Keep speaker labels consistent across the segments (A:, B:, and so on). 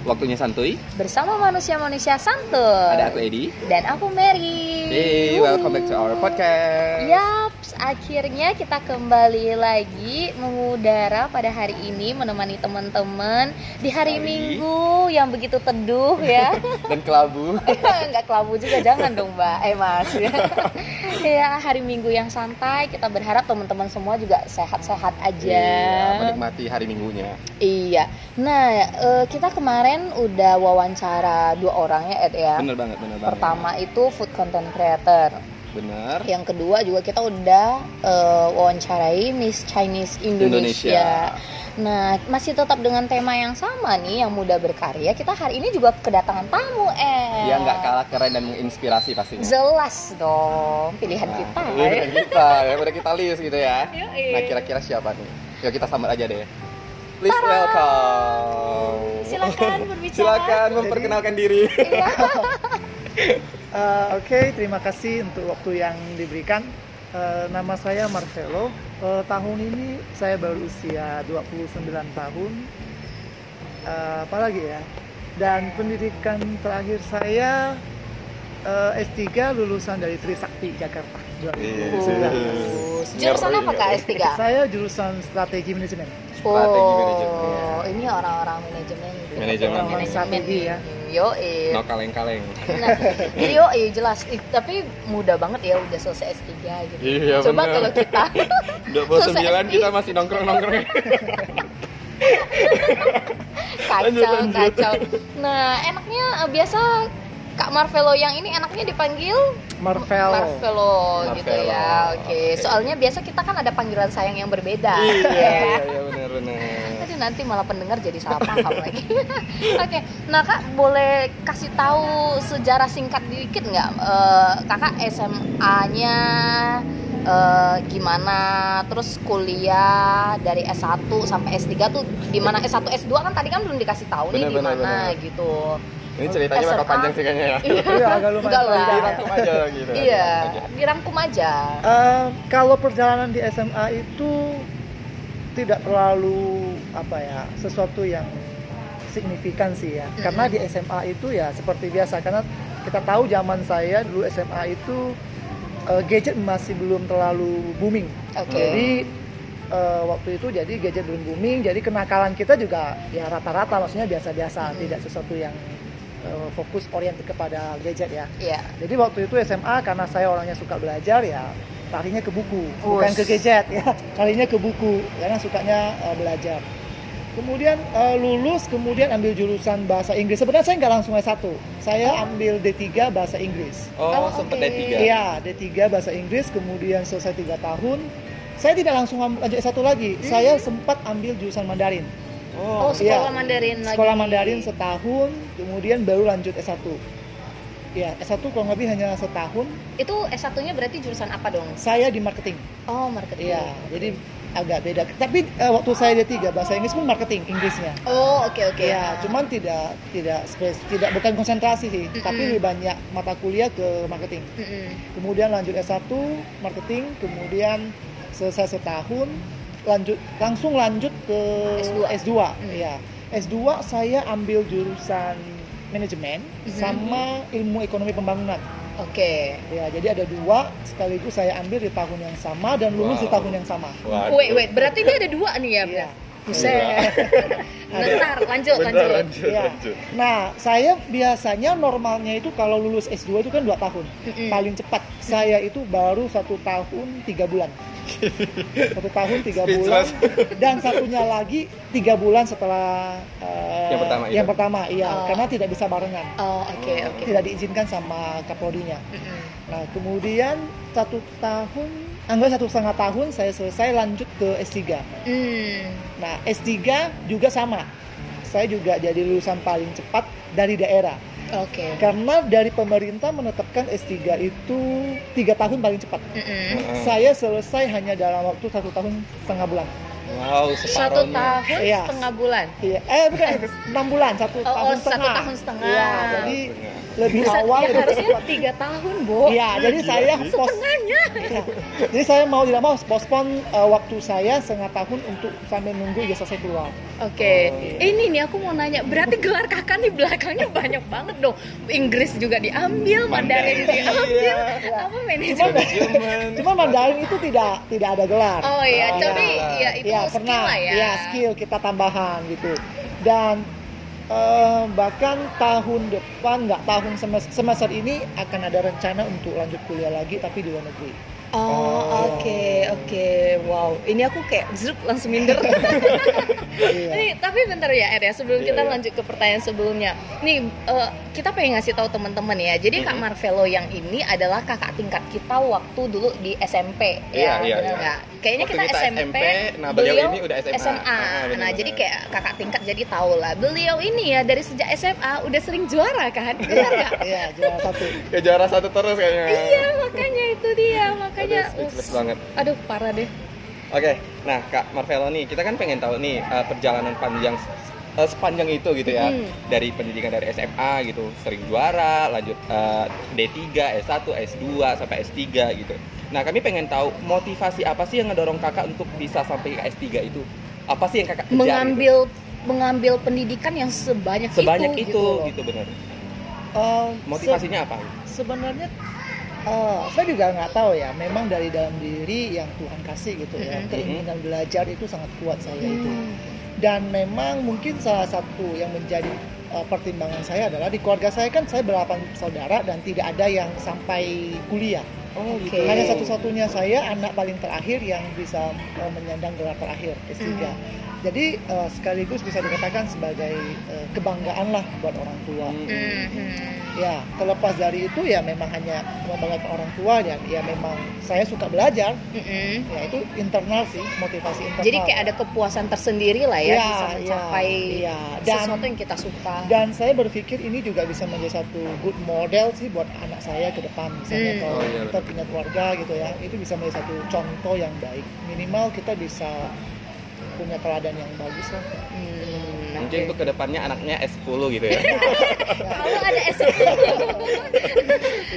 A: Waktunya santuy.
B: bersama manusia-manusia santuy.
A: Ada aku Edi.
B: Dan aku Mary.
A: Hey, welcome back to our podcast.
B: Ya. Yaps, akhirnya kita kembali lagi mengudara pada hari ini menemani teman-teman di
A: Hari.
B: hari Minggu yang begitu teduh ya.
A: Dan kelabu.
B: Nggak kelabu juga jangan dong, Mbak. Eh, Mas. ya, hari Minggu yang santai. Kita berharap teman-teman semua juga sehat-sehat aja.
A: Iya, menikmati hari minggunya.
B: Iya. Nah, eh, kita kemarin udah wawancara dua orang ya, Ed ya.
A: Bener banget, bener banget.
B: Pertama itu food content creator.
A: Bener.
B: Yang kedua juga kita udah eh, wawancarai Miss Chinese Indonesia. Nah, masih tetap dengan tema yang sama nih, yang muda berkarya. Kita hari ini juga kedatangan tamu, Ed.
A: Dia Iya, nggak kalah keren dan menginspirasi pastinya.
B: Jelas dong pilihan
A: Nah,
B: kita.
A: iya, Pilihan kita. Ya, udah kita list gitu ya.
B: Yoi.
A: Nah, kira-kira siapa nih? Yuk kita sambat aja deh. Please welcome.
B: Silakan berbicara.
A: Silakan memperkenalkan diri.
B: Iya,
C: Eh, Oke, terima kasih untuk waktu yang diberikan. Eh, nama saya Marcelo. Eh, tahun ini saya baru usia 29 tahun. Eh, apa lagi ya? Dan pendidikan terakhir saya eh, S3 lulusan dari Trisakti Jakarta.
B: iya. Bagus. Jurusan apa Kak S3?
C: Saya jurusan strategi manajemen.
A: Strategi manajemen, ya.
B: Oh, ini orang-orang manajemen. Iya.
A: Manajemen.
C: Orang-orang strategi ya.
B: Yo,
A: No kaleng-kaleng.
B: Nah, jadi yo, iya jelas. Ih, tapi mudah banget ya udah selesai S3 gitu.
A: Iya,
B: Coba
A: bener.
B: kalau kita
A: Udah puluh
B: Selesai
A: sembilan
B: SD.
A: kita masih nongkrong-nongkrong. Lanjut,
B: kacau
A: lanjut.
B: kacau. Nah, enaknya eh, biasa Kak Marvelo yang ini enaknya dipanggil
C: Marvel.
B: Marvelo gitu
A: Marvelo,
B: ya. Oke,
A: oke.
B: soalnya biasa kita kan ada panggilan sayang yang berbeda.
A: iya,
B: ya.
A: iya benar-benar.
B: Tadi nanti malah pendengar jadi salah paham lagi. Oke, nah kak boleh kasih tahu sejarah singkat dikit nggak? Eh, kakak SMA-nya eh, gimana? Terus kuliah dari S1 sampai S3 tuh di mana? S1 S2 kan tadi kan belum dikasih tahu
A: Bener,
B: nih di
A: bener,
B: mana
A: bener.
B: gitu.
A: Ini ceritanya bakal
B: SMA.
A: panjang sih kayaknya ya.
C: Iya, agak lumayan.
B: Enggak lah.
C: panjang ya.
A: Dirangkum aja gitu.
B: Iya,
A: Aja.
B: dirangkum aja.
C: Eh, kalau perjalanan di SMA itu tidak terlalu apa ya sesuatu yang signifikan sih ya karena di SMA itu ya seperti biasa karena kita tahu zaman saya dulu SMA itu eh, gadget masih belum terlalu booming
B: Oke.
C: jadi eh, waktu itu jadi gadget belum booming jadi kenakalan kita juga ya rata-rata maksudnya biasa-biasa
B: Hmm.
C: tidak sesuatu yang eh, fokus oriented kepada gadget ya
B: Iya.
C: jadi waktu itu SMA karena saya orangnya suka belajar ya larinya ke buku, bukan
B: Us.
C: ke gadget ya. Larinya ke buku karena sukanya eh, belajar. Kemudian eh, lulus, kemudian ambil jurusan bahasa Inggris. Sebenarnya saya nggak langsung S1. Saya ambil D3 bahasa Inggris.
A: Oh,
B: Oh,
A: sempet
B: oke.
A: D3.
C: Iya, D3 bahasa Inggris, kemudian selesai 3 tahun. Saya tidak langsung am- lanjut S1 lagi.
A: Hmm.
C: Saya sempat ambil jurusan Mandarin.
A: Oh,
B: Oh, sekolah
C: iya.
B: Mandarin lagi.
C: Sekolah Mandarin setahun, kemudian baru lanjut S1. Ya, S1 kurang lebih hanya setahun.
B: Itu S1-nya berarti jurusan apa dong?
C: Saya di marketing.
B: Oh, marketing.
C: Iya, jadi agak beda. Tapi eh, waktu saya D3 bahasa Inggris pun marketing Inggrisnya.
B: Oh, oke oke.
C: Iya, cuman tidak tidak spes, tidak bukan konsentrasi sih,
B: Mm-mm.
C: tapi lebih banyak mata kuliah ke marketing.
B: Mm-mm.
C: Kemudian lanjut S1 marketing, kemudian selesai setahun lanjut langsung lanjut ke
B: S2. Mm.
C: Iya. S2 saya ambil jurusan manajemen
B: Mhm.
C: sama ilmu ekonomi pembangunan.
B: Oke.
C: Ya, jadi ada dua sekaligus saya ambil di tahun yang sama dan lulus di
A: Wow.
C: tahun yang sama.
A: Waduh.
B: Wait, wait, berarti dia ada dua nih ya?
C: Iya.
B: Buset. Bentar, lanjut,
A: Bentar,
B: lanjut. ya.
A: lanjut,
C: Iya.
A: lanjut.
C: Nah, saya biasanya normalnya itu kalau lulus S2 itu kan 2 tahun.
B: Mm-mm.
C: Paling cepat. Saya itu baru satu tahun tiga bulan. Satu tahun tiga bulan dan satunya lagi tiga bulan setelah eh,
A: Yang pertama itu?
C: Yang pertama, iya,
B: Oh.
C: karena tidak bisa barengan.
B: Oh, oke, oke.
C: Tidak diizinkan sama kapolrinya.
B: Mm-mm.
C: Nah, kemudian satu tahun, anggap satu setengah tahun saya selesai lanjut ke S3.
B: Hmm.
C: Nah, S3 juga sama. Saya juga jadi lulusan paling cepat dari daerah.
B: Oke.
C: Karena dari pemerintah menetapkan S3 itu tiga tahun paling cepat.
B: Mm-mm.
A: Heeh.
C: Saya selesai hanya dalam waktu satu tahun setengah bulan.
A: Wow,
B: Satu
A: separohnya.
B: tahun
C: Iya.
B: setengah bulan.
C: Iya, eh bukan enam bulan,
B: Oh,
C: satu tahun
B: oh, satu
C: setengah.
B: tahun setengah.
C: Iya,
A: Setengah.
C: jadi lebih
B: Bisa-
C: Iya, awal
B: ya,
C: lebih
B: harusnya
C: cepat.
B: tiga tahun bu
C: Iya, jadi
A: Gila
C: saya
A: sih.
C: pos. Iya. Jadi saya mau tidak mau postpone eh, waktu saya setengah tahun untuk sambil nunggu ijazah saya keluar.
B: Oke,
C: Oh.
B: ini nih aku mau nanya, berarti gelar kakak di belakangnya banyak banget dong. Inggris juga diambil, Mandarin diambil,
A: Iya.
B: apa manajemen?
A: Manajemen.
C: Cuma Mandarin itu tidak tidak ada gelar.
B: Oh
A: Oh,
B: iya, tapi
A: iya.
B: ya itu
C: Iya,
B: skill lah ya.
C: Iya, skill kita tambahan gitu. Dan eh, bahkan tahun depan nggak tahun semester, semester ini akan ada rencana untuk lanjut kuliah lagi tapi di luar negeri.
B: Oh oke oke, wow. Ini aku kayak zrup langsung minder.
C: Iya.
B: Nih, tapi bentar ya Ed ya, sebelum
A: Iya,
B: kita
A: iya.
B: lanjut ke pertanyaan sebelumnya. Nih, eh, kita pengen ngasih tahu teman-teman ya. Jadi Kak
A: Mhm.
B: Marvelo yang ini adalah kakak tingkat kita waktu dulu di SMP
A: Iya,
B: ya,
A: iya,
B: benar
A: iya.
B: nggak? Kayaknya
A: Waktu
B: kita,
A: kita
B: SMP,
A: SMP, nah beliau ini udah SMA. Ah, benar,
B: nah,
A: benar.
B: jadi kayak kakak tingkat jadi tahu lah. Beliau ini ya dari sejak SMA udah sering juara kan? Benar nggak?
C: Iya, juara satu.
A: Ya juara satu terus kayaknya.
B: Iya, makanya itu dia, makanya
A: Aduh, speechless
B: us-
A: banget.
B: Aduh, parah deh.
A: Oke, nah Kak Marvelo nih, kita kan pengen tahu nih eh, perjalanan panjang eh, sepanjang itu gitu ya.
B: Mhm.
A: Dari pendidikan dari SMA gitu, sering juara, lanjut eh, D3, S1, S2 sampai S3 gitu. Nah, kami pengen tahu motivasi apa sih yang ngedorong Kakak untuk bisa sampai ke S3 itu? Apa sih yang Kakak kejar gitu?
B: Mengambil mengambil pendidikan yang sebanyak,
A: sebanyak itu
B: gitu
A: gitu,
B: loh.
A: bener.
C: Eh, se-
A: Motivasinya apa?
C: sebenarnya eh, saya juga nggak tahu ya memang dari dalam diri yang Tuhan kasih gitu ya
B: Mhm.
C: keinginan belajar itu sangat kuat saya itu
B: Hmm.
C: dan memang mungkin salah satu yang menjadi eh, pertimbangan saya adalah di keluarga saya kan saya berdelapan saudara dan tidak ada yang sampai kuliah
A: Oh,
B: gitu. Oke.
C: hanya satu-satunya saya anak paling terakhir yang bisa eh, menyandang gelar terakhir S3
B: Mhm.
C: jadi eh, sekaligus bisa dikatakan sebagai eh, kebanggaan lah buat orang tua
B: Mm. Mhm.
C: Ya, terlepas dari itu ya memang hanya membanggakan orang tua dan ya memang saya suka belajar.
B: Mhm.
C: Ya itu internal sih, motivasi internal.
B: Jadi kayak ada kepuasan tersendiri lah ya,
C: Iya,
B: bisa
C: iya,
B: mencapai
C: iya. Dan-
B: sesuatu yang kita suka.
C: dan saya berpikir ini juga bisa menjadi satu good model sih buat anak saya ke depan misalnya
B: Hmm.
C: kalau
A: Oh, iya,
C: kita
A: betul.
C: punya keluarga gitu ya itu bisa menjadi satu contoh yang baik minimal kita bisa punya teladan yang bagus lah
B: Hmm,
A: Mungkin
B: oke.
A: untuk kedepannya anaknya S10 gitu ya.
B: Kalau ada S
C: ya.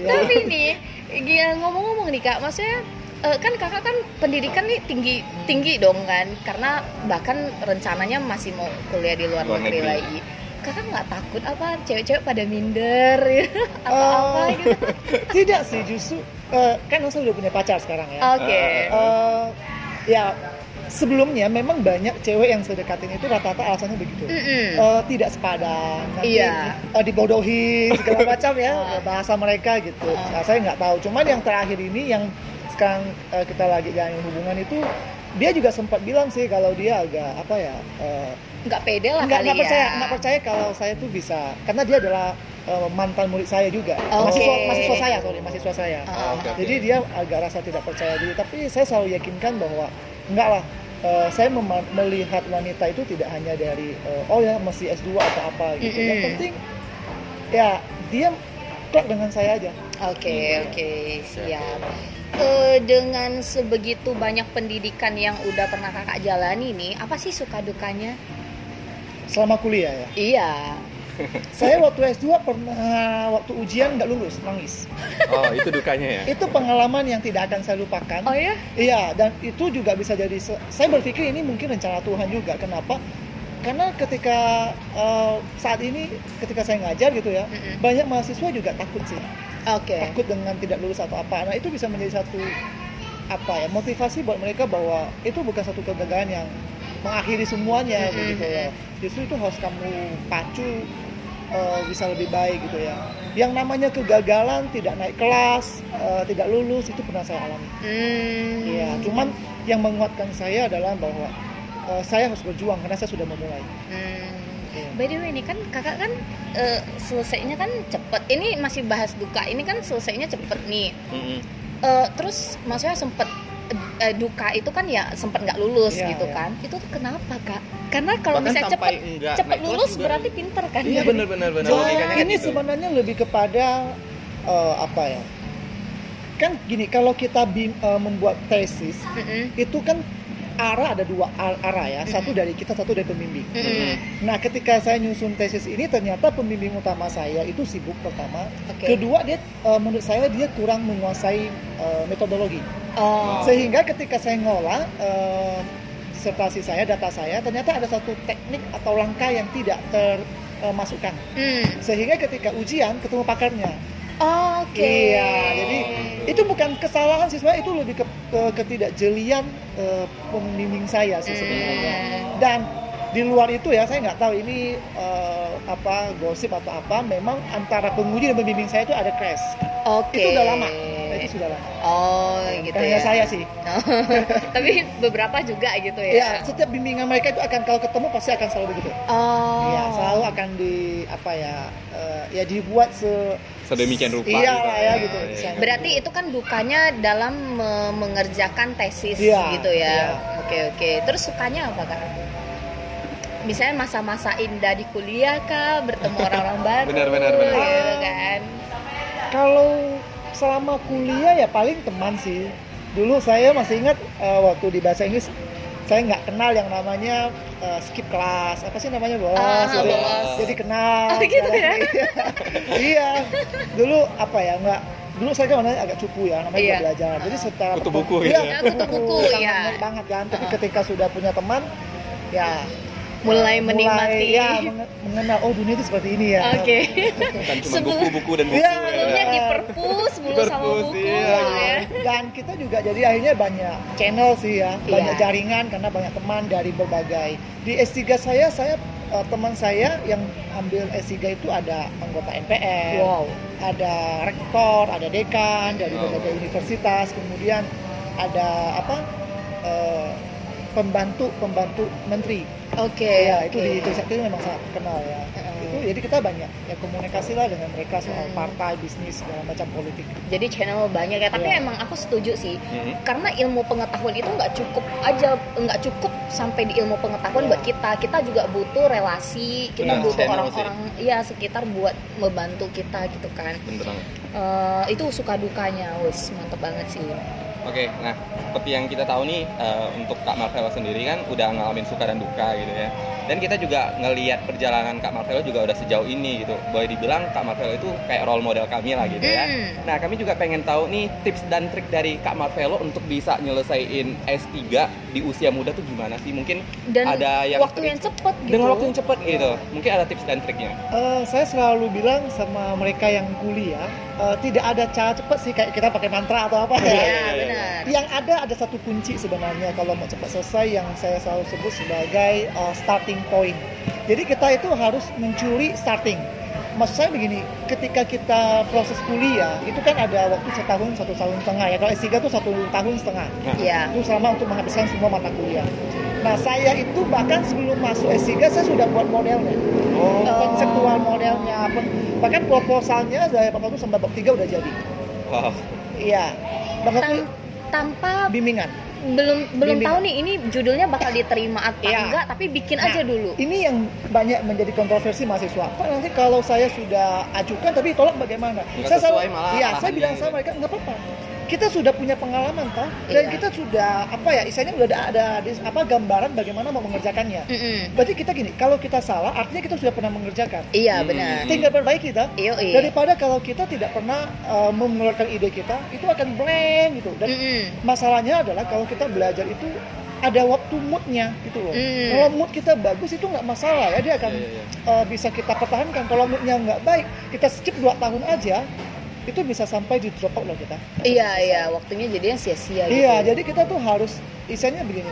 B: tapi nih, ya ngomong-ngomong nih kak, maksudnya eh, kan kakak kan pendidikan nih tinggi tinggi dong kan, karena bahkan rencananya masih mau kuliah di luar
A: Luar
B: negeri
A: negeri.
B: lagi. Kakak nggak takut apa cewek-cewek pada minder atau apa
C: Eh,
B: gitu?
C: tidak sih justru eh, kan saya udah punya pacar sekarang ya
B: Oke.
C: Eh, ya sebelumnya memang banyak cewek yang saya dekatin itu rata-rata alasannya begitu.
B: Mm-mm.
C: Eh, tidak sepadan, nanti
B: Iya.
C: eh, dibodohi segala macam
B: Ah.
C: ya bahasa mereka gitu.
B: Ah.
C: Nah, saya nggak tahu. Cuman yang terakhir ini yang sekarang eh, kita lagi jalanin hubungan itu dia juga sempat bilang sih kalau dia agak apa ya eh,
B: Nggak pede lah
C: nggak
B: kali
C: nggak
B: ya.
C: percaya nggak percaya kalau saya tuh bisa karena dia adalah eh, mantan murid saya juga
B: Oke.
C: mahasiswa mahasiswa saya sorry mahasiswa saya
B: Oh. Ah.
A: Oke.
C: jadi dia agak rasa tidak percaya diri, tapi saya selalu yakinkan bahwa enggak lah. Eh, saya mema- melihat wanita itu tidak hanya dari eh, oh ya masih S2 atau apa gitu.
B: Mm-mm.
C: Yang penting ya dia klop dengan saya aja. Iya.
B: Oke, oke, siap. Eh, dengan sebegitu banyak pendidikan yang udah pernah kakak jalani nih, apa sih suka dukanya?
C: Selama kuliah ya.
B: Iya.
C: Saya waktu S2 pernah waktu ujian nggak lulus, nangis.
A: Oh, itu dukanya ya.
C: Itu pengalaman yang tidak akan saya lupakan.
B: Oh ya?
C: Iya, dan itu juga bisa jadi. se- Saya berpikir ini mungkin rencana Tuhan juga. Kenapa? Karena ketika eh, saat ini, ketika saya ngajar gitu ya,
B: Mm-mm.
C: banyak mahasiswa juga takut sih,
B: Oke.
C: takut dengan tidak lulus atau apa. Nah itu bisa menjadi satu apa ya motivasi buat mereka bahwa itu bukan satu kegagalan yang mengakhiri semuanya
B: Mm-mm.
C: gitu ya. Justru itu harus kamu pacu eh, bisa lebih baik gitu ya. Yang namanya kegagalan, tidak naik kelas, eh, tidak lulus itu pernah saya alami.
B: Hmm.
C: Iya, cuman yang menguatkan saya adalah bahwa eh, saya harus berjuang karena saya sudah memulai.
B: Hmm.
C: Iya.
B: By the way, ini kan kakak kan eh, selesainya kan cepet. Ini masih bahas duka. Ini kan selesainya cepet nih.
A: Mm-mm.
B: Eh, terus maksudnya sempet eh, eh, duka itu kan ya sempet nggak lulus
C: Iya,
B: gitu
C: iya.
B: kan? Itu tuh kenapa kak? Karena kalau
A: Bahkan
B: misalnya
A: sampai
B: cepet
A: enggak
B: cepet
A: naik kelas
B: lulus
A: juga.
B: berarti pinter kan?
A: Iya
B: Jadi-
A: benar-benar benar.
C: Jadi,
A: Logikanya kan
C: Nah, ini
A: gitu.
C: sebenarnya lebih kepada eh, apa ya? Kan gini, kalau kita bim- eh, membuat tesis
B: Mm-mm.
C: itu kan arah ada dua ar- arah ya, satu
B: Mm.
C: dari kita, satu dari pembimbing.
B: Mm-mm.
C: Nah, ketika saya nyusun tesis ini ternyata pembimbing utama saya itu sibuk pertama.
B: Oke.
C: Kedua dia eh, menurut saya dia kurang menguasai eh, metodologi.
B: Oh.
C: Sehingga ketika saya ngolah eh, disertasi saya, data saya, ternyata ada satu teknik atau langkah yang tidak eh, termasukkan.
B: Hmm.
C: Sehingga ketika ujian ketemu pakarnya.
B: Oke. Mm.
C: Iya, jadi- Itu bukan kesalahan sih sebenarnya, itu lebih ke, ke- ketidakjelian eh, pembimbing saya sih sebenarnya.
B: Hmm.
C: Dan di luar itu ya saya nggak tahu ini eh, apa gosip atau apa. Memang antara penguji dan pembimbing saya itu ada crash.
B: Oke.
C: Itu udah lama. Nah, itu sudah lama.
B: Oh, gitu
C: Bukan hanya
B: ya.
C: saya sih.
B: Tapi beberapa juga gitu
C: Ya,
B: ya.
C: setiap bimbingan mereka itu akan kalau ketemu pasti akan selalu begitu.
B: Oh.
C: Iya, selalu akan di apa ya? eh, ya dibuat se
A: sedemikian rupa
C: Iya lah ya, gitu.
A: Iya.
B: Berarti itu kan dukanya dalam me- mengerjakan tesis
C: Iya,
B: gitu ya.
C: iya.
B: Oke oke. Terus sukanya apa kak? Misalnya masa-masa indah di kuliah kak, bertemu orang-orang baru.
A: Benar, benar, benar.
B: gitu kan.
C: kalau selama kuliah ya paling teman sih. Dulu saya masih ingat eh, waktu di bahasa Inggris saya nggak kenal yang namanya eh, skip kelas apa sih namanya bolos,
B: Ah,
C: gitu.
A: bolos.
C: jadi kenal
B: Oh, gitu ya?
C: iya dulu apa ya nggak dulu saya kan orangnya agak cupu ya namanya
B: Iya.
C: nggak belajar jadi secara
A: Kutu buku gitu
C: iya,
A: ya?
B: Kutu buku,
C: sangat
B: iya.
C: banyak banget kan tapi
B: Ah.
C: ketika sudah punya teman ya
B: Mulai menikmati.
C: ya menge- mengenal oh dunia itu seperti ini ya
B: Oke.
A: bukan cuma
B: Sebelum-
A: buku-buku dan buku
C: Iya,
B: Sebelumnya
A: ya.
B: di perpus mulu sama
A: perpus,
B: buku
A: iya.
B: gitu ya.
C: Dan kita juga jadi akhirnya banyak channel sih ya, banyak
B: Iya.
C: jaringan karena banyak teman dari berbagai. Di S3 saya, saya eh, teman saya yang ambil S3 itu ada anggota MPR,
B: Wow.
C: ada rektor, ada dekan dari
A: Oh.
C: berbagai universitas, kemudian ada apa? eh, pembantu pembantu menteri.
B: Oke.
C: Ya, itu
B: oke.
C: di Trisakti itu memang sangat terkenal ya.
B: Heeh.
C: Itu jadi kita banyak ya komunikasi lah dengan mereka soal
B: Hmm.
C: partai, bisnis, segala macam politik.
B: Jadi channel banyak ya. Tapi
C: Iya.
B: emang aku setuju sih.
A: Mhm.
B: karena ilmu pengetahuan itu nggak cukup aja nggak cukup sampai di ilmu pengetahuan
C: Iya.
B: buat kita kita juga butuh relasi kita
A: Benar,
B: butuh
A: channel
B: orang-orang ya sekitar buat membantu kita gitu kan
A: Bener banget.
B: Eh, itu suka dukanya wes mantep banget sih
A: Iya. Oke, nah seperti yang kita tahu nih eh, untuk Kak Marvela sendiri kan udah ngalamin suka dan duka gitu ya. Dan kita juga ngelihat perjalanan Kak Marvela juga udah sejauh ini gitu. Boleh dibilang Kak Marvela itu kayak role model kami lah gitu
C: Mm.
A: ya.
B: Hmm.
A: Nah, kami juga pengen tahu nih tips dan trik dari Kak Marvelo untuk bisa nyelesain S3 di usia muda tuh gimana sih? Mungkin
B: dan
A: ada yang
B: waktu
A: trik-
B: yang cepet gitu
A: dengan waktu yang cepat gitu. Mungkin ada tips dan triknya.
C: Eh, saya selalu bilang sama mereka yang kuliah, eh, tidak ada cara cepat sih kayak kita pakai mantra atau apa
B: Iya,
C: ya.
B: benar
C: Yang ada ada satu kunci sebenarnya kalau mau cepat selesai yang saya selalu sebut sebagai eh, starting point. Jadi kita itu harus mencuri starting. Maksud saya begini, ketika kita proses kuliah itu kan ada waktu setahun satu tahun setengah ya. Kalau S3 itu satu tahun setengah
B: Iya.
C: itu sama untuk menghabiskan semua mata kuliah. Nah saya itu bahkan sebelum masuk S3 saya sudah buat modelnya
A: Oh.
C: konseptual modelnya pun bahkan proposalnya dari bapak itu sampai bab tiga udah jadi
A: Wow.
C: iya bapak itu
B: Tan- tanpa
C: bimbingan
B: belum belum
C: Bimbingan.
B: tahu nih ini judulnya bakal diterima atau
C: Iya.
B: enggak tapi bikin
C: Nah,
B: aja dulu
C: ini yang banyak menjadi kontroversi mahasiswa pak nanti kalau saya sudah ajukan tapi tolak bagaimana
A: Nggak
C: saya
A: sesuai malah
C: iya saya
A: arahannya
C: bilang
A: gitu.
C: sama mereka nggak apa-apa kita sudah punya pengalaman toh dan
B: Iya.
C: kita sudah apa ya istilahnya udah ada, ada, ada- apa gambaran bagaimana mau mengerjakannya
B: Mm-mm.
C: berarti kita gini kalau kita salah artinya kita sudah pernah mengerjakan
B: iya
A: Hmm.
B: benar
C: tinggal perbaiki kita
B: Iya, iya.
C: daripada kalau kita tidak pernah uh, mengeluarkan ide kita itu akan blank gitu
A: Hmm.
C: dan
B: Mm-mm.
C: masalahnya adalah kalau kita belajar itu ada waktu moodnya gitu loh
B: Mm.
C: kalau mood kita bagus itu nggak masalah ya dia akan
A: Hmm. Iya, iya, iya.
C: uh, bisa kita pertahankan kalau moodnya nggak baik kita skip 2 tahun aja itu bisa sampai di drop out loh kita
B: Iya iya waktunya jadi yang sia-sia gitu.
C: Iya, jadi kita tuh harus isinya begini,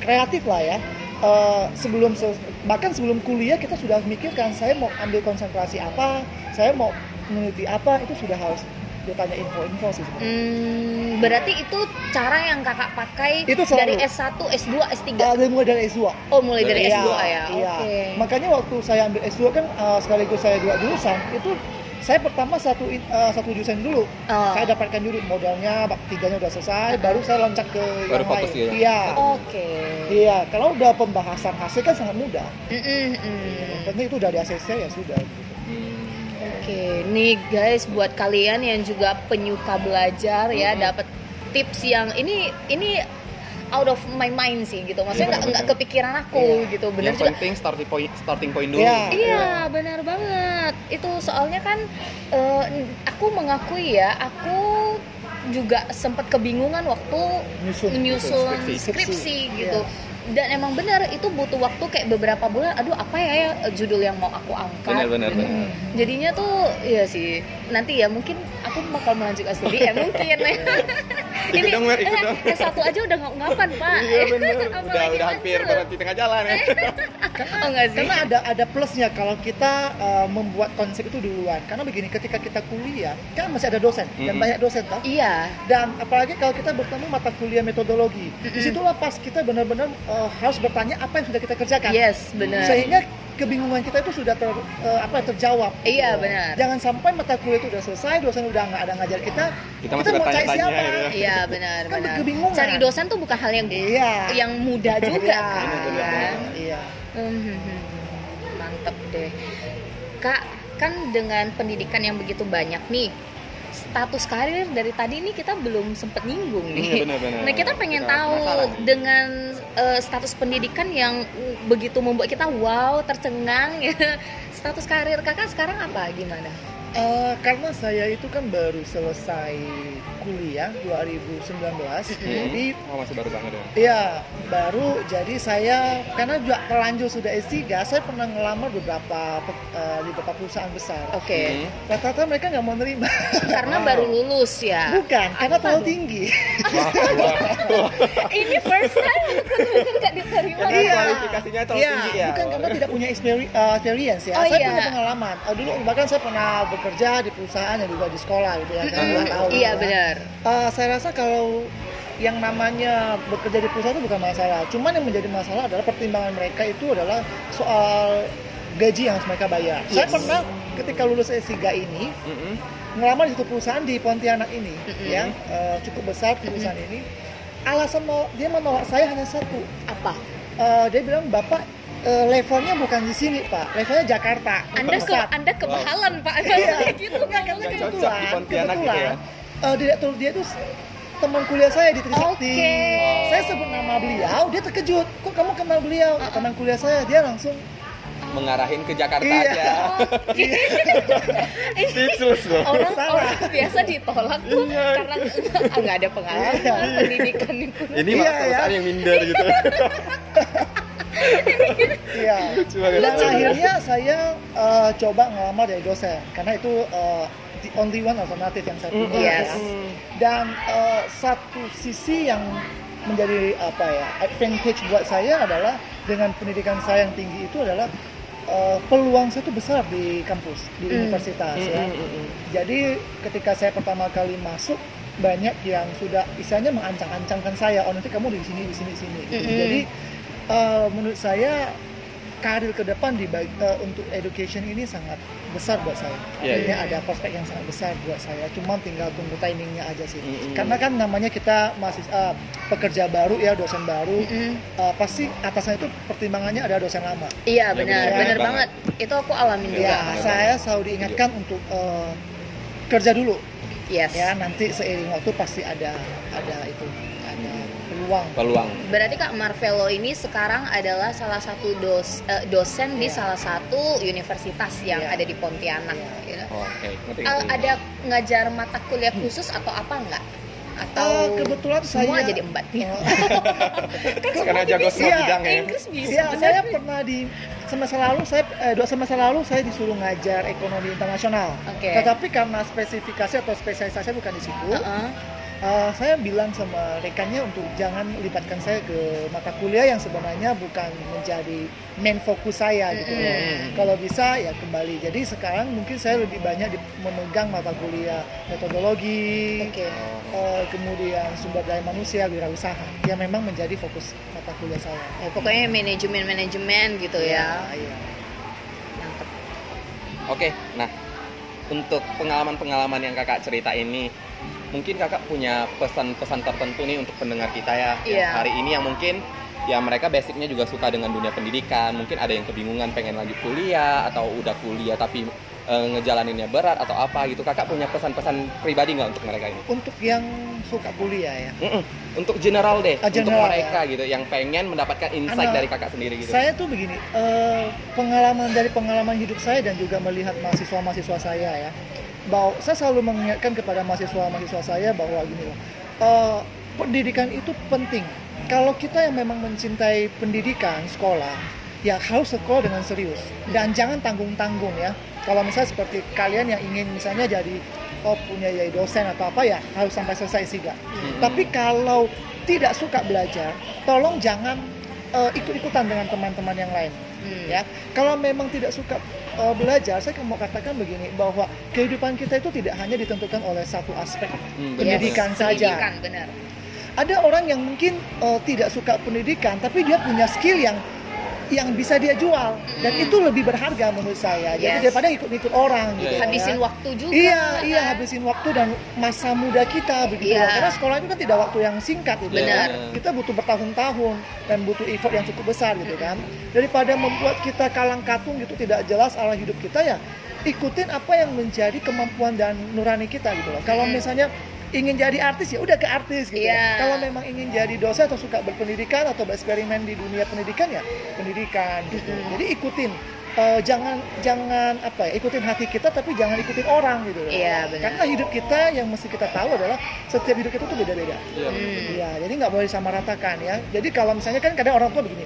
C: kreatif lah ya. Eh, sebelum se- bahkan sebelum kuliah kita sudah mikirkan saya mau ambil konsentrasi apa, saya mau meneliti apa itu sudah harus ditanya info-info sih. sebenarnya.
B: Hmm, berarti itu cara yang kakak pakai
C: Itu
B: dari
C: selalu.
B: S1, S2, S3.
C: Ada mulai dari S2.
B: Oh mulai dari
A: Iya,
B: S2 ya.
C: iya.
B: Oke.
C: Makanya waktu saya ambil S2 kan eh, sekaligus saya dua jurusan itu saya pertama satu in- eh, satu jurusan dulu
B: Oh,
C: saya dapatkan dulu modalnya bab tiganya udah
B: Uh-uh.
C: selesai baru saya loncat ke
A: Baru
C: yang
A: fokus
C: lain.
A: ya?
C: Iya.
B: Oke.
C: Iya, kalau udah pembahasan hasil kan sangat mudah.
B: Mm-mm, mm.
C: Yang penting itu dari ACC ya sudah.
B: Oke. Nih guys buat kalian yang juga penyuka belajar ya
A: Mm-mm.
B: dapat tips yang ini ini out of my mind sih gitu
A: Iya,
B: maksudnya nggak
A: benar,
B: nggak
A: benar.
B: kepikiran aku
C: Iya.
B: gitu bener
A: yang
B: juga
A: penting starting point starting point dulu
C: Iya.
B: Iya, benar banget. Itu soalnya kan eh, aku mengakui ya, aku juga sempat kebingungan waktu
C: nyusun
B: menyusun
A: Skripsi. Iya.
B: skripsi
C: Skripsi,
B: gitu. Dan emang benar itu butuh waktu kayak beberapa bulan. Aduh, apa ya, ya judul yang mau aku angkat?
A: benar benar
B: gitu.
C: Hmm.
A: benar
B: Jadinya tuh iya sih. Nanti ya mungkin aku bakal melanjutkan studi ya mungkin. eh,
A: ikut dong Mer ikut dong
B: satu aja udah nggak ngapan pak.
A: iya benar udah
B: Apalagi
A: udah hampir
B: lanjut.
A: berhenti tengah jalan ya
B: Oh nggak sih.
C: karena ada ada plusnya kalau kita eh, membuat konsep itu duluan karena begini ketika kita kuliah kan masih ada dosen
A: Mm-mm.
C: dan banyak dosen toh
B: Iya.
C: dan apalagi kalau kita bertemu mata kuliah metodologi
B: Mm-mm.
C: disitulah pas kita benar-benar eh, harus bertanya apa yang sudah kita kerjakan
B: Yes, Iya, benar.
C: sehingga kebingungan kita itu sudah ter, eh, apa terjawab
B: Iya, benar.
C: jangan sampai mata kuliah itu udah selesai dosen udah nggak ada ngajar kita
A: kita masih
C: mau cari
A: bertanya-tanya
C: siapa?
A: gitu.
B: Iya benar
C: Kan
B: benar.
C: kebingungan.
B: Cari dosen tuh bukan hal yang
C: iya
B: yang mudah juga kan.
A: Benar, benar, benar.
C: iya
B: Mhm. Mantep deh. Kak, kan dengan pendidikan yang begitu banyak nih, status karir dari tadi nih kita belum sempet nyinggung
A: Iya,
B: nih.
A: benar benar
B: Nah kita pengen tahu
A: penasaran nih.
B: dengan eh, status pendidikan yang uh, begitu membuat kita wow tercengang ya. Status karir kakak sekarang apa gimana?
C: Eh, karena saya itu kan baru selesai kuliah 2019
A: Hmm.
C: jadi
A: oh, masih baru banget ya
C: Iya, baru jadi saya karena juga terlanjur sudah S3, saya pernah ngelamar beberapa pe- eh, di beberapa perusahaan besar.
B: Oke,
A: Hmm.
C: Rata-rata mereka nggak mau nerima.
B: karena
A: Wow.
B: baru lulus ya.
C: Bukan,
B: Iya.
C: karena
B: apa
C: terlalu
B: tuh?
C: tinggi.
A: Wah, wah, wah.
B: ini first time aku nggak diterima
A: Karena
C: Iya.
A: kualifikasinya terlalu
C: Iya,
A: tinggi ya
C: bukan karena tidak punya experi- eh, experience ya.
B: Oh,
C: saya
B: iya.
C: punya pengalaman. Eh, dulu bahkan saya pernah bekerja di perusahaan yang juga di sekolah gitu ya, karena dua
B: Mm-mm,
C: tahun.
B: iya
C: gitu kan.
B: benar
C: Eh, saya rasa kalau yang namanya bekerja di perusahaan itu bukan masalah. Cuman yang menjadi masalah adalah pertimbangan mereka itu adalah soal gaji yang harus mereka bayar. Saya
B: Yes.
C: pernah ketika lulus S3 ini
A: Mm-mm.
C: ngelamar di satu perusahaan di Pontianak ini
B: Mm-mm.
C: ya, eh, cukup besar perusahaan ini. Alasan mau, dia menolak saya hanya satu.
B: apa
C: Eh, dia bilang, "Bapak eh, levelnya bukan di sini, Pak. Levelnya Jakarta."
B: anda ke
C: Pusat."
B: anda kebahalan pak
C: Iya.
B: Maksudnya gitu
C: Enggak, karena
A: Nggak
C: kebetulan,
A: cocok di Pontianak gitu
C: kebetulan, eh, direktur dia itu teman kuliah saya di Trisakti.
B: Oke.
C: Saya sebut nama beliau, dia terkejut. Kok kamu kenal beliau?
B: Uh-uh.
C: Teman kuliah saya, dia langsung
A: mengarahin ke Jakarta
C: Iya.
A: aja
B: Oke.
A: speechless loh
B: orang
C: Salah.
B: orang biasa ditolak tuh
A: Iya.
B: karena ah, nggak ada pengalaman
C: Iya.
B: pendidikan itu
A: ini
C: Iya,
A: malah
C: ya.
A: perusahaan yang minder gitu
C: iya.
A: lucu banget
C: Dan akhirnya saya eh, coba ngelamar jadi dosen karena itu eh, the only one alternatif yang saya punya.
A: Mm-mm.
B: Yes.
C: ya.
A: hmm.
C: Dan eh, satu sisi yang menjadi apa ya advantage buat saya adalah dengan pendidikan saya yang tinggi itu adalah eh, peluang saya itu besar di kampus di
B: Mm.
C: universitas
A: Mm,
C: ya.
A: mm, mm, mm.
C: Jadi ketika saya pertama kali masuk banyak yang sudah istilahnya mengancang-ancangkan saya, oh nanti kamu di sini, di sini, di sini. gitu.
B: Mm-mm.
C: Jadi eh, menurut saya karir ke depan di bag- eh, untuk education ini sangat besar buat saya.
A: Iya,
C: Artinya
A: iya.
C: ada prospek yang sangat besar buat saya. Cuman tinggal tunggu timingnya aja sih.
A: Mm-mm.
C: Karena kan namanya kita masih eh, pekerja baru ya, dosen baru,
B: Mm-mm.
C: eh, pasti atasan itu pertimbangannya ada dosen lama.
B: iya
A: Iya,
B: benar
C: benar
B: benar banget
A: banget.
B: itu aku alamin
A: Iya.
B: juga
C: Ya, saya selalu diingatkan untuk eh, kerja dulu
B: yes
C: ya nanti seiring waktu pasti ada ada itu ada peluang
A: peluang
B: Berarti Kak Marvelo ini sekarang adalah salah satu dos, eh, dosen di
C: Iya.
B: salah satu universitas yang
C: Iya.
B: ada di Pontianak.
C: Iya.
B: gitu.
A: Oh, oke ngerti
B: Al-
A: ngerti.
B: ada ngajar mata kuliah khusus atau apa enggak? Atau
C: Eh, kebetulan
B: semua
C: saya Oh,
B: jadi Iya, empat?
A: karena jago
C: Iya.
A: semua bidang ya
B: kan Inggris bisa.
C: Iya, saya pernah di semester lalu saya eh, dua semester lalu saya disuruh ngajar ekonomi internasional.
B: Oke.
C: Tetapi karena spesifikasi atau spesialisasi bukan di situ,
B: Heeh.
C: eh, saya bilang sama rekannya untuk jangan libatkan saya ke mata kuliah yang sebenarnya bukan menjadi main fokus saya gitu. loh.
A: Mm-mm.
C: Kalau bisa ya kembali. Jadi sekarang mungkin saya lebih banyak di- memegang mata kuliah metodologi,
B: Oke.
A: Oh.
C: Eh, kemudian sumber daya manusia wirausaha yang memang menjadi fokus mata kuliah saya.
B: Ya, pokoknya manajemen manajemen gitu ya.
C: Iya.
B: Mantep.
A: Oke, nah untuk pengalaman-pengalaman yang kakak cerita ini, mungkin kakak punya pesan-pesan tertentu nih untuk pendengar kita ya yang
B: Iya.
A: hari ini yang mungkin ya mereka basicnya juga suka dengan dunia pendidikan, mungkin ada yang kebingungan pengen lanjut kuliah atau udah kuliah tapi eh, ngejalaninnya berat atau apa gitu kakak punya pesan-pesan pribadi nggak untuk mereka ini
C: Untuk yang suka kuliah ya,
A: Mm-mm. untuk general deh
C: Ah,
A: untuk
C: general,
A: mereka gitu yang pengen mendapatkan insight
C: Anda-
A: dari kakak sendiri gitu
C: saya tuh begini eh, pengalaman dari pengalaman hidup saya dan juga melihat mahasiswa-mahasiswa saya ya bahwa saya selalu mengingatkan kepada mahasiswa-mahasiswa saya bahwa gini loh eh, pendidikan itu penting kalau kita yang memang mencintai pendidikan sekolah ya harus sekolah dengan serius dan jangan tanggung-tanggung ya kalau misalnya seperti kalian yang ingin misalnya jadi oh punya yai dosen atau apa ya harus sampai selesai sih
A: Mm-mm.
C: tapi kalau tidak suka belajar, tolong jangan eh, ikut-ikutan dengan teman-teman yang lain.
B: Hmm.
C: Ya, kalau memang tidak suka eh, belajar, saya mau katakan begini bahwa kehidupan kita itu tidak hanya ditentukan oleh satu aspek.
A: Mm, bener.
C: pendidikan
B: Yes,
C: saja.
B: pendidikan, benar.
C: Ada orang yang mungkin eh, tidak suka pendidikan, tapi dia punya skill yang yang bisa dia jual dan
B: Mm.
C: itu lebih berharga menurut saya. Jadi
B: Yes.
C: daripada ikut-ikut orang gitu.
A: Iya,
C: ya.
B: Habisin waktu juga.
C: Iya,
B: kan?
C: iya habisin waktu dan masa muda kita begitu.
B: Iya.
C: loh. Karena sekolah itu kan tidak waktu yang singkat itu.
B: Benar.
C: Kita butuh bertahun-tahun dan butuh effort yang cukup besar gitu kan. Daripada membuat kita kalang katung gitu tidak jelas arah hidup kita ya, ikutin apa yang menjadi kemampuan dan nurani kita gitu loh. Kalau
B: Mm.
C: misalnya ingin jadi artis ya udah ke artis gitu. ya.
B: Iya.
C: Kalau memang ingin jadi dosen atau suka berpendidikan atau bereksperimen di dunia pendidikan ya pendidikan gitu.
B: Mm-mm.
C: Jadi ikutin eh, jangan jangan apa ya ikutin hati kita tapi jangan ikutin orang gitu loh.
B: Iya, benar.
C: Karena hidup kita yang mesti kita tahu adalah setiap hidup kita tuh beda-beda.
A: Iya,
B: Hmm.
C: Iya, jadi nggak boleh disamaratakan ya. Jadi kalau misalnya kan kadang orang tua begini,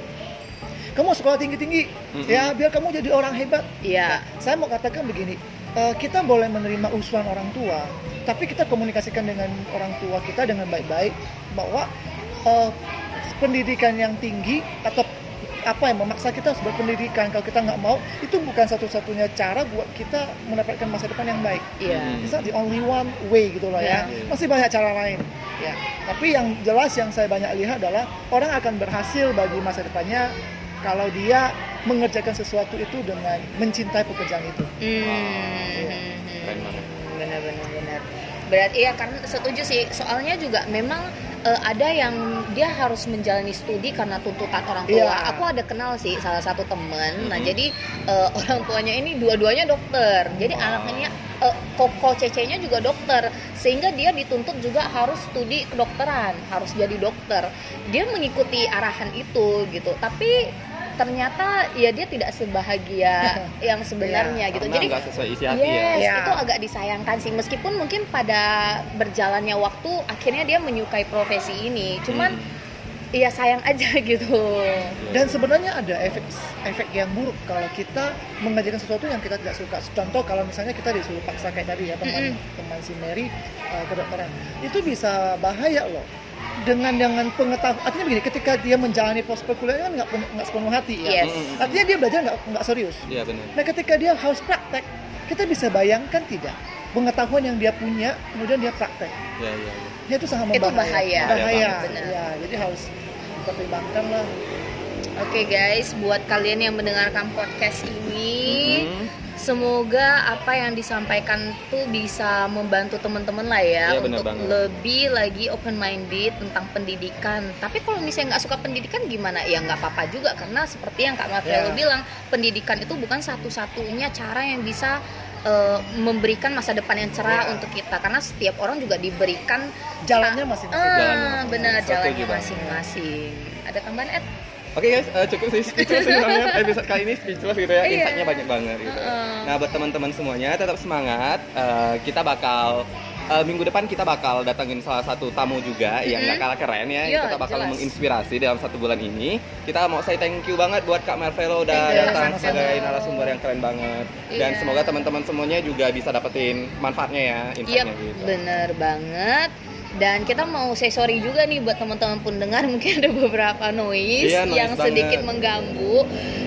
C: kamu sekolah tinggi-tinggi
B: Hmm.
A: Mm-mm.
C: ya biar kamu jadi orang hebat.
B: Iya.
C: Nah, saya mau katakan begini, eh, kita boleh menerima usulan orang tua, tapi kita komunikasikan dengan orang tua kita dengan baik-baik bahwa eh, pendidikan yang tinggi atau apa yang memaksa kita harus berpendidikan kalau kita nggak mau itu bukan satu-satunya cara buat kita mendapatkan masa depan yang baik.
B: Iya.
A: Hmm.
C: It's not the only one way gitu loh ya.
A: Yeah.
C: Masih banyak cara lain. Ya. Tapi yang jelas yang saya banyak lihat adalah orang akan berhasil bagi masa depannya kalau dia mengerjakan sesuatu itu dengan mencintai pekerjaan itu.
B: Hmm.
A: iya. keren banget
B: benar benar benar berarti ya kan setuju sih soalnya juga memang eh, ada yang dia harus menjalani studi karena tuntutan orang tua
C: Iya.
B: aku ada kenal sih salah satu temen nah
A: Mhm.
B: jadi eh, orang tuanya ini dua-duanya dokter jadi
A: Wow.
B: anaknya eh, koko cecenya juga dokter sehingga dia dituntut juga harus studi kedokteran harus jadi dokter dia mengikuti arahan itu gitu tapi ternyata ya dia tidak sebahagia yang sebenarnya gitu
A: karena
B: jadi
A: nggak sesuai isi hati Iya.
B: Yes,
C: ya.
B: itu agak disayangkan sih. Meskipun mungkin pada berjalannya waktu akhirnya dia menyukai profesi
A: ya
B: ini. Cuman ya sayang aja gitu.
C: Dan sebenarnya ada efek efek yang buruk kalau kita mengerjakan sesuatu yang kita tidak suka. Contoh kalau misalnya kita disuruh paksa kayak tadi ya teman teman si Mary uh, kedokteran itu bisa bahaya loh. Dengan dengan pengetahuan artinya begini ketika dia menjalani proses perkuliahan kan nggak pen- nggak sepenuh hati ya.
B: Yes.
C: Artinya dia belajar nggak nggak serius.
A: iya benar
C: Nah ketika dia harus praktek, kita bisa bayangkan tidak pengetahuan yang dia punya kemudian dia praktek,
A: iya iya iya.
C: dia itu sangat
B: Itu
C: membahaya.
B: bahaya.
A: Bahaya
C: Bahaya.
B: banget, benar.
C: Ya, jadi harus pertimbangkan lah.
B: Oke guys, buat kalian yang mendengarkan podcast ini,
A: Mm-mm.
B: semoga apa yang disampaikan tuh bisa membantu teman-teman lah ya
A: Iya, benar
B: untuk
A: banget.
B: lebih lagi open minded tentang pendidikan. Tapi kalau misalnya nggak suka pendidikan gimana? Ya nggak apa-apa juga karena seperti yang Kak Mafia
C: Ya.
B: bilang, pendidikan itu bukan satu-satunya cara yang bisa eh, memberikan masa depan yang
A: Iya.
B: cerah
C: Ya.
B: untuk kita karena setiap orang juga diberikan
C: Jalannya masing-masing.
A: Jalannya
B: ah, benar
A: masing-masing.
B: jalannya
A: Setuju banget.
B: masing-masing. Ada tambahan Ed?
A: Oke guys, eh, cukup sih speechless ini banget. Episode kali ini speechless gitu ya,
B: Iya.
A: insightnya banyak banget gitu.
B: Heeh.
A: Nah buat teman-teman semuanya tetap semangat. Eh, kita bakal eh, minggu depan kita bakal datangin salah satu tamu juga yang
B: Mm-mm.
A: gak kalah keren ya.
B: Iya,
A: kita bakal
B: jelas.
A: menginspirasi dalam satu bulan ini. Kita mau say thank you banget buat Kak Marvelo udah
B: Thank you,
A: datang
C: sama-sama.
A: sebagai narasumber yang keren banget. Dan
B: Iya.
A: semoga teman-teman semuanya juga bisa dapetin manfaatnya ya,
B: Iya,
A: insightnya gitu.
B: bener banget. Dan kita mau say sorry juga nih buat teman-teman pendengar mungkin ada beberapa noise
A: Iya, noise
B: yang sedikit
A: banget.
B: mengganggu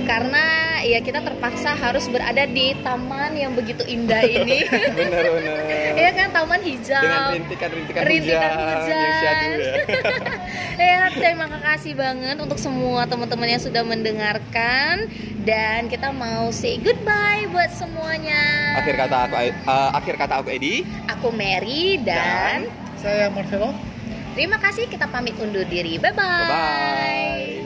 B: karena ya kita terpaksa harus berada di taman yang begitu indah ini.
A: Bener-bener.
B: ya kan taman hijau.
A: Iya. Dengan rintikan-rintikan
B: Rintikan
A: hujan, yang syahdu
B: hujan.
A: ya.
B: Ya, terima kasih banget untuk semua teman-teman yang sudah mendengarkan dan kita mau say goodbye buat semuanya.
A: akhir kata aku eh, akhir kata aku Edi.
B: aku Mary dan
C: Saya Marcelo.
B: terima kasih kita pamit undur diri. Bye-bye.
A: Bye bye.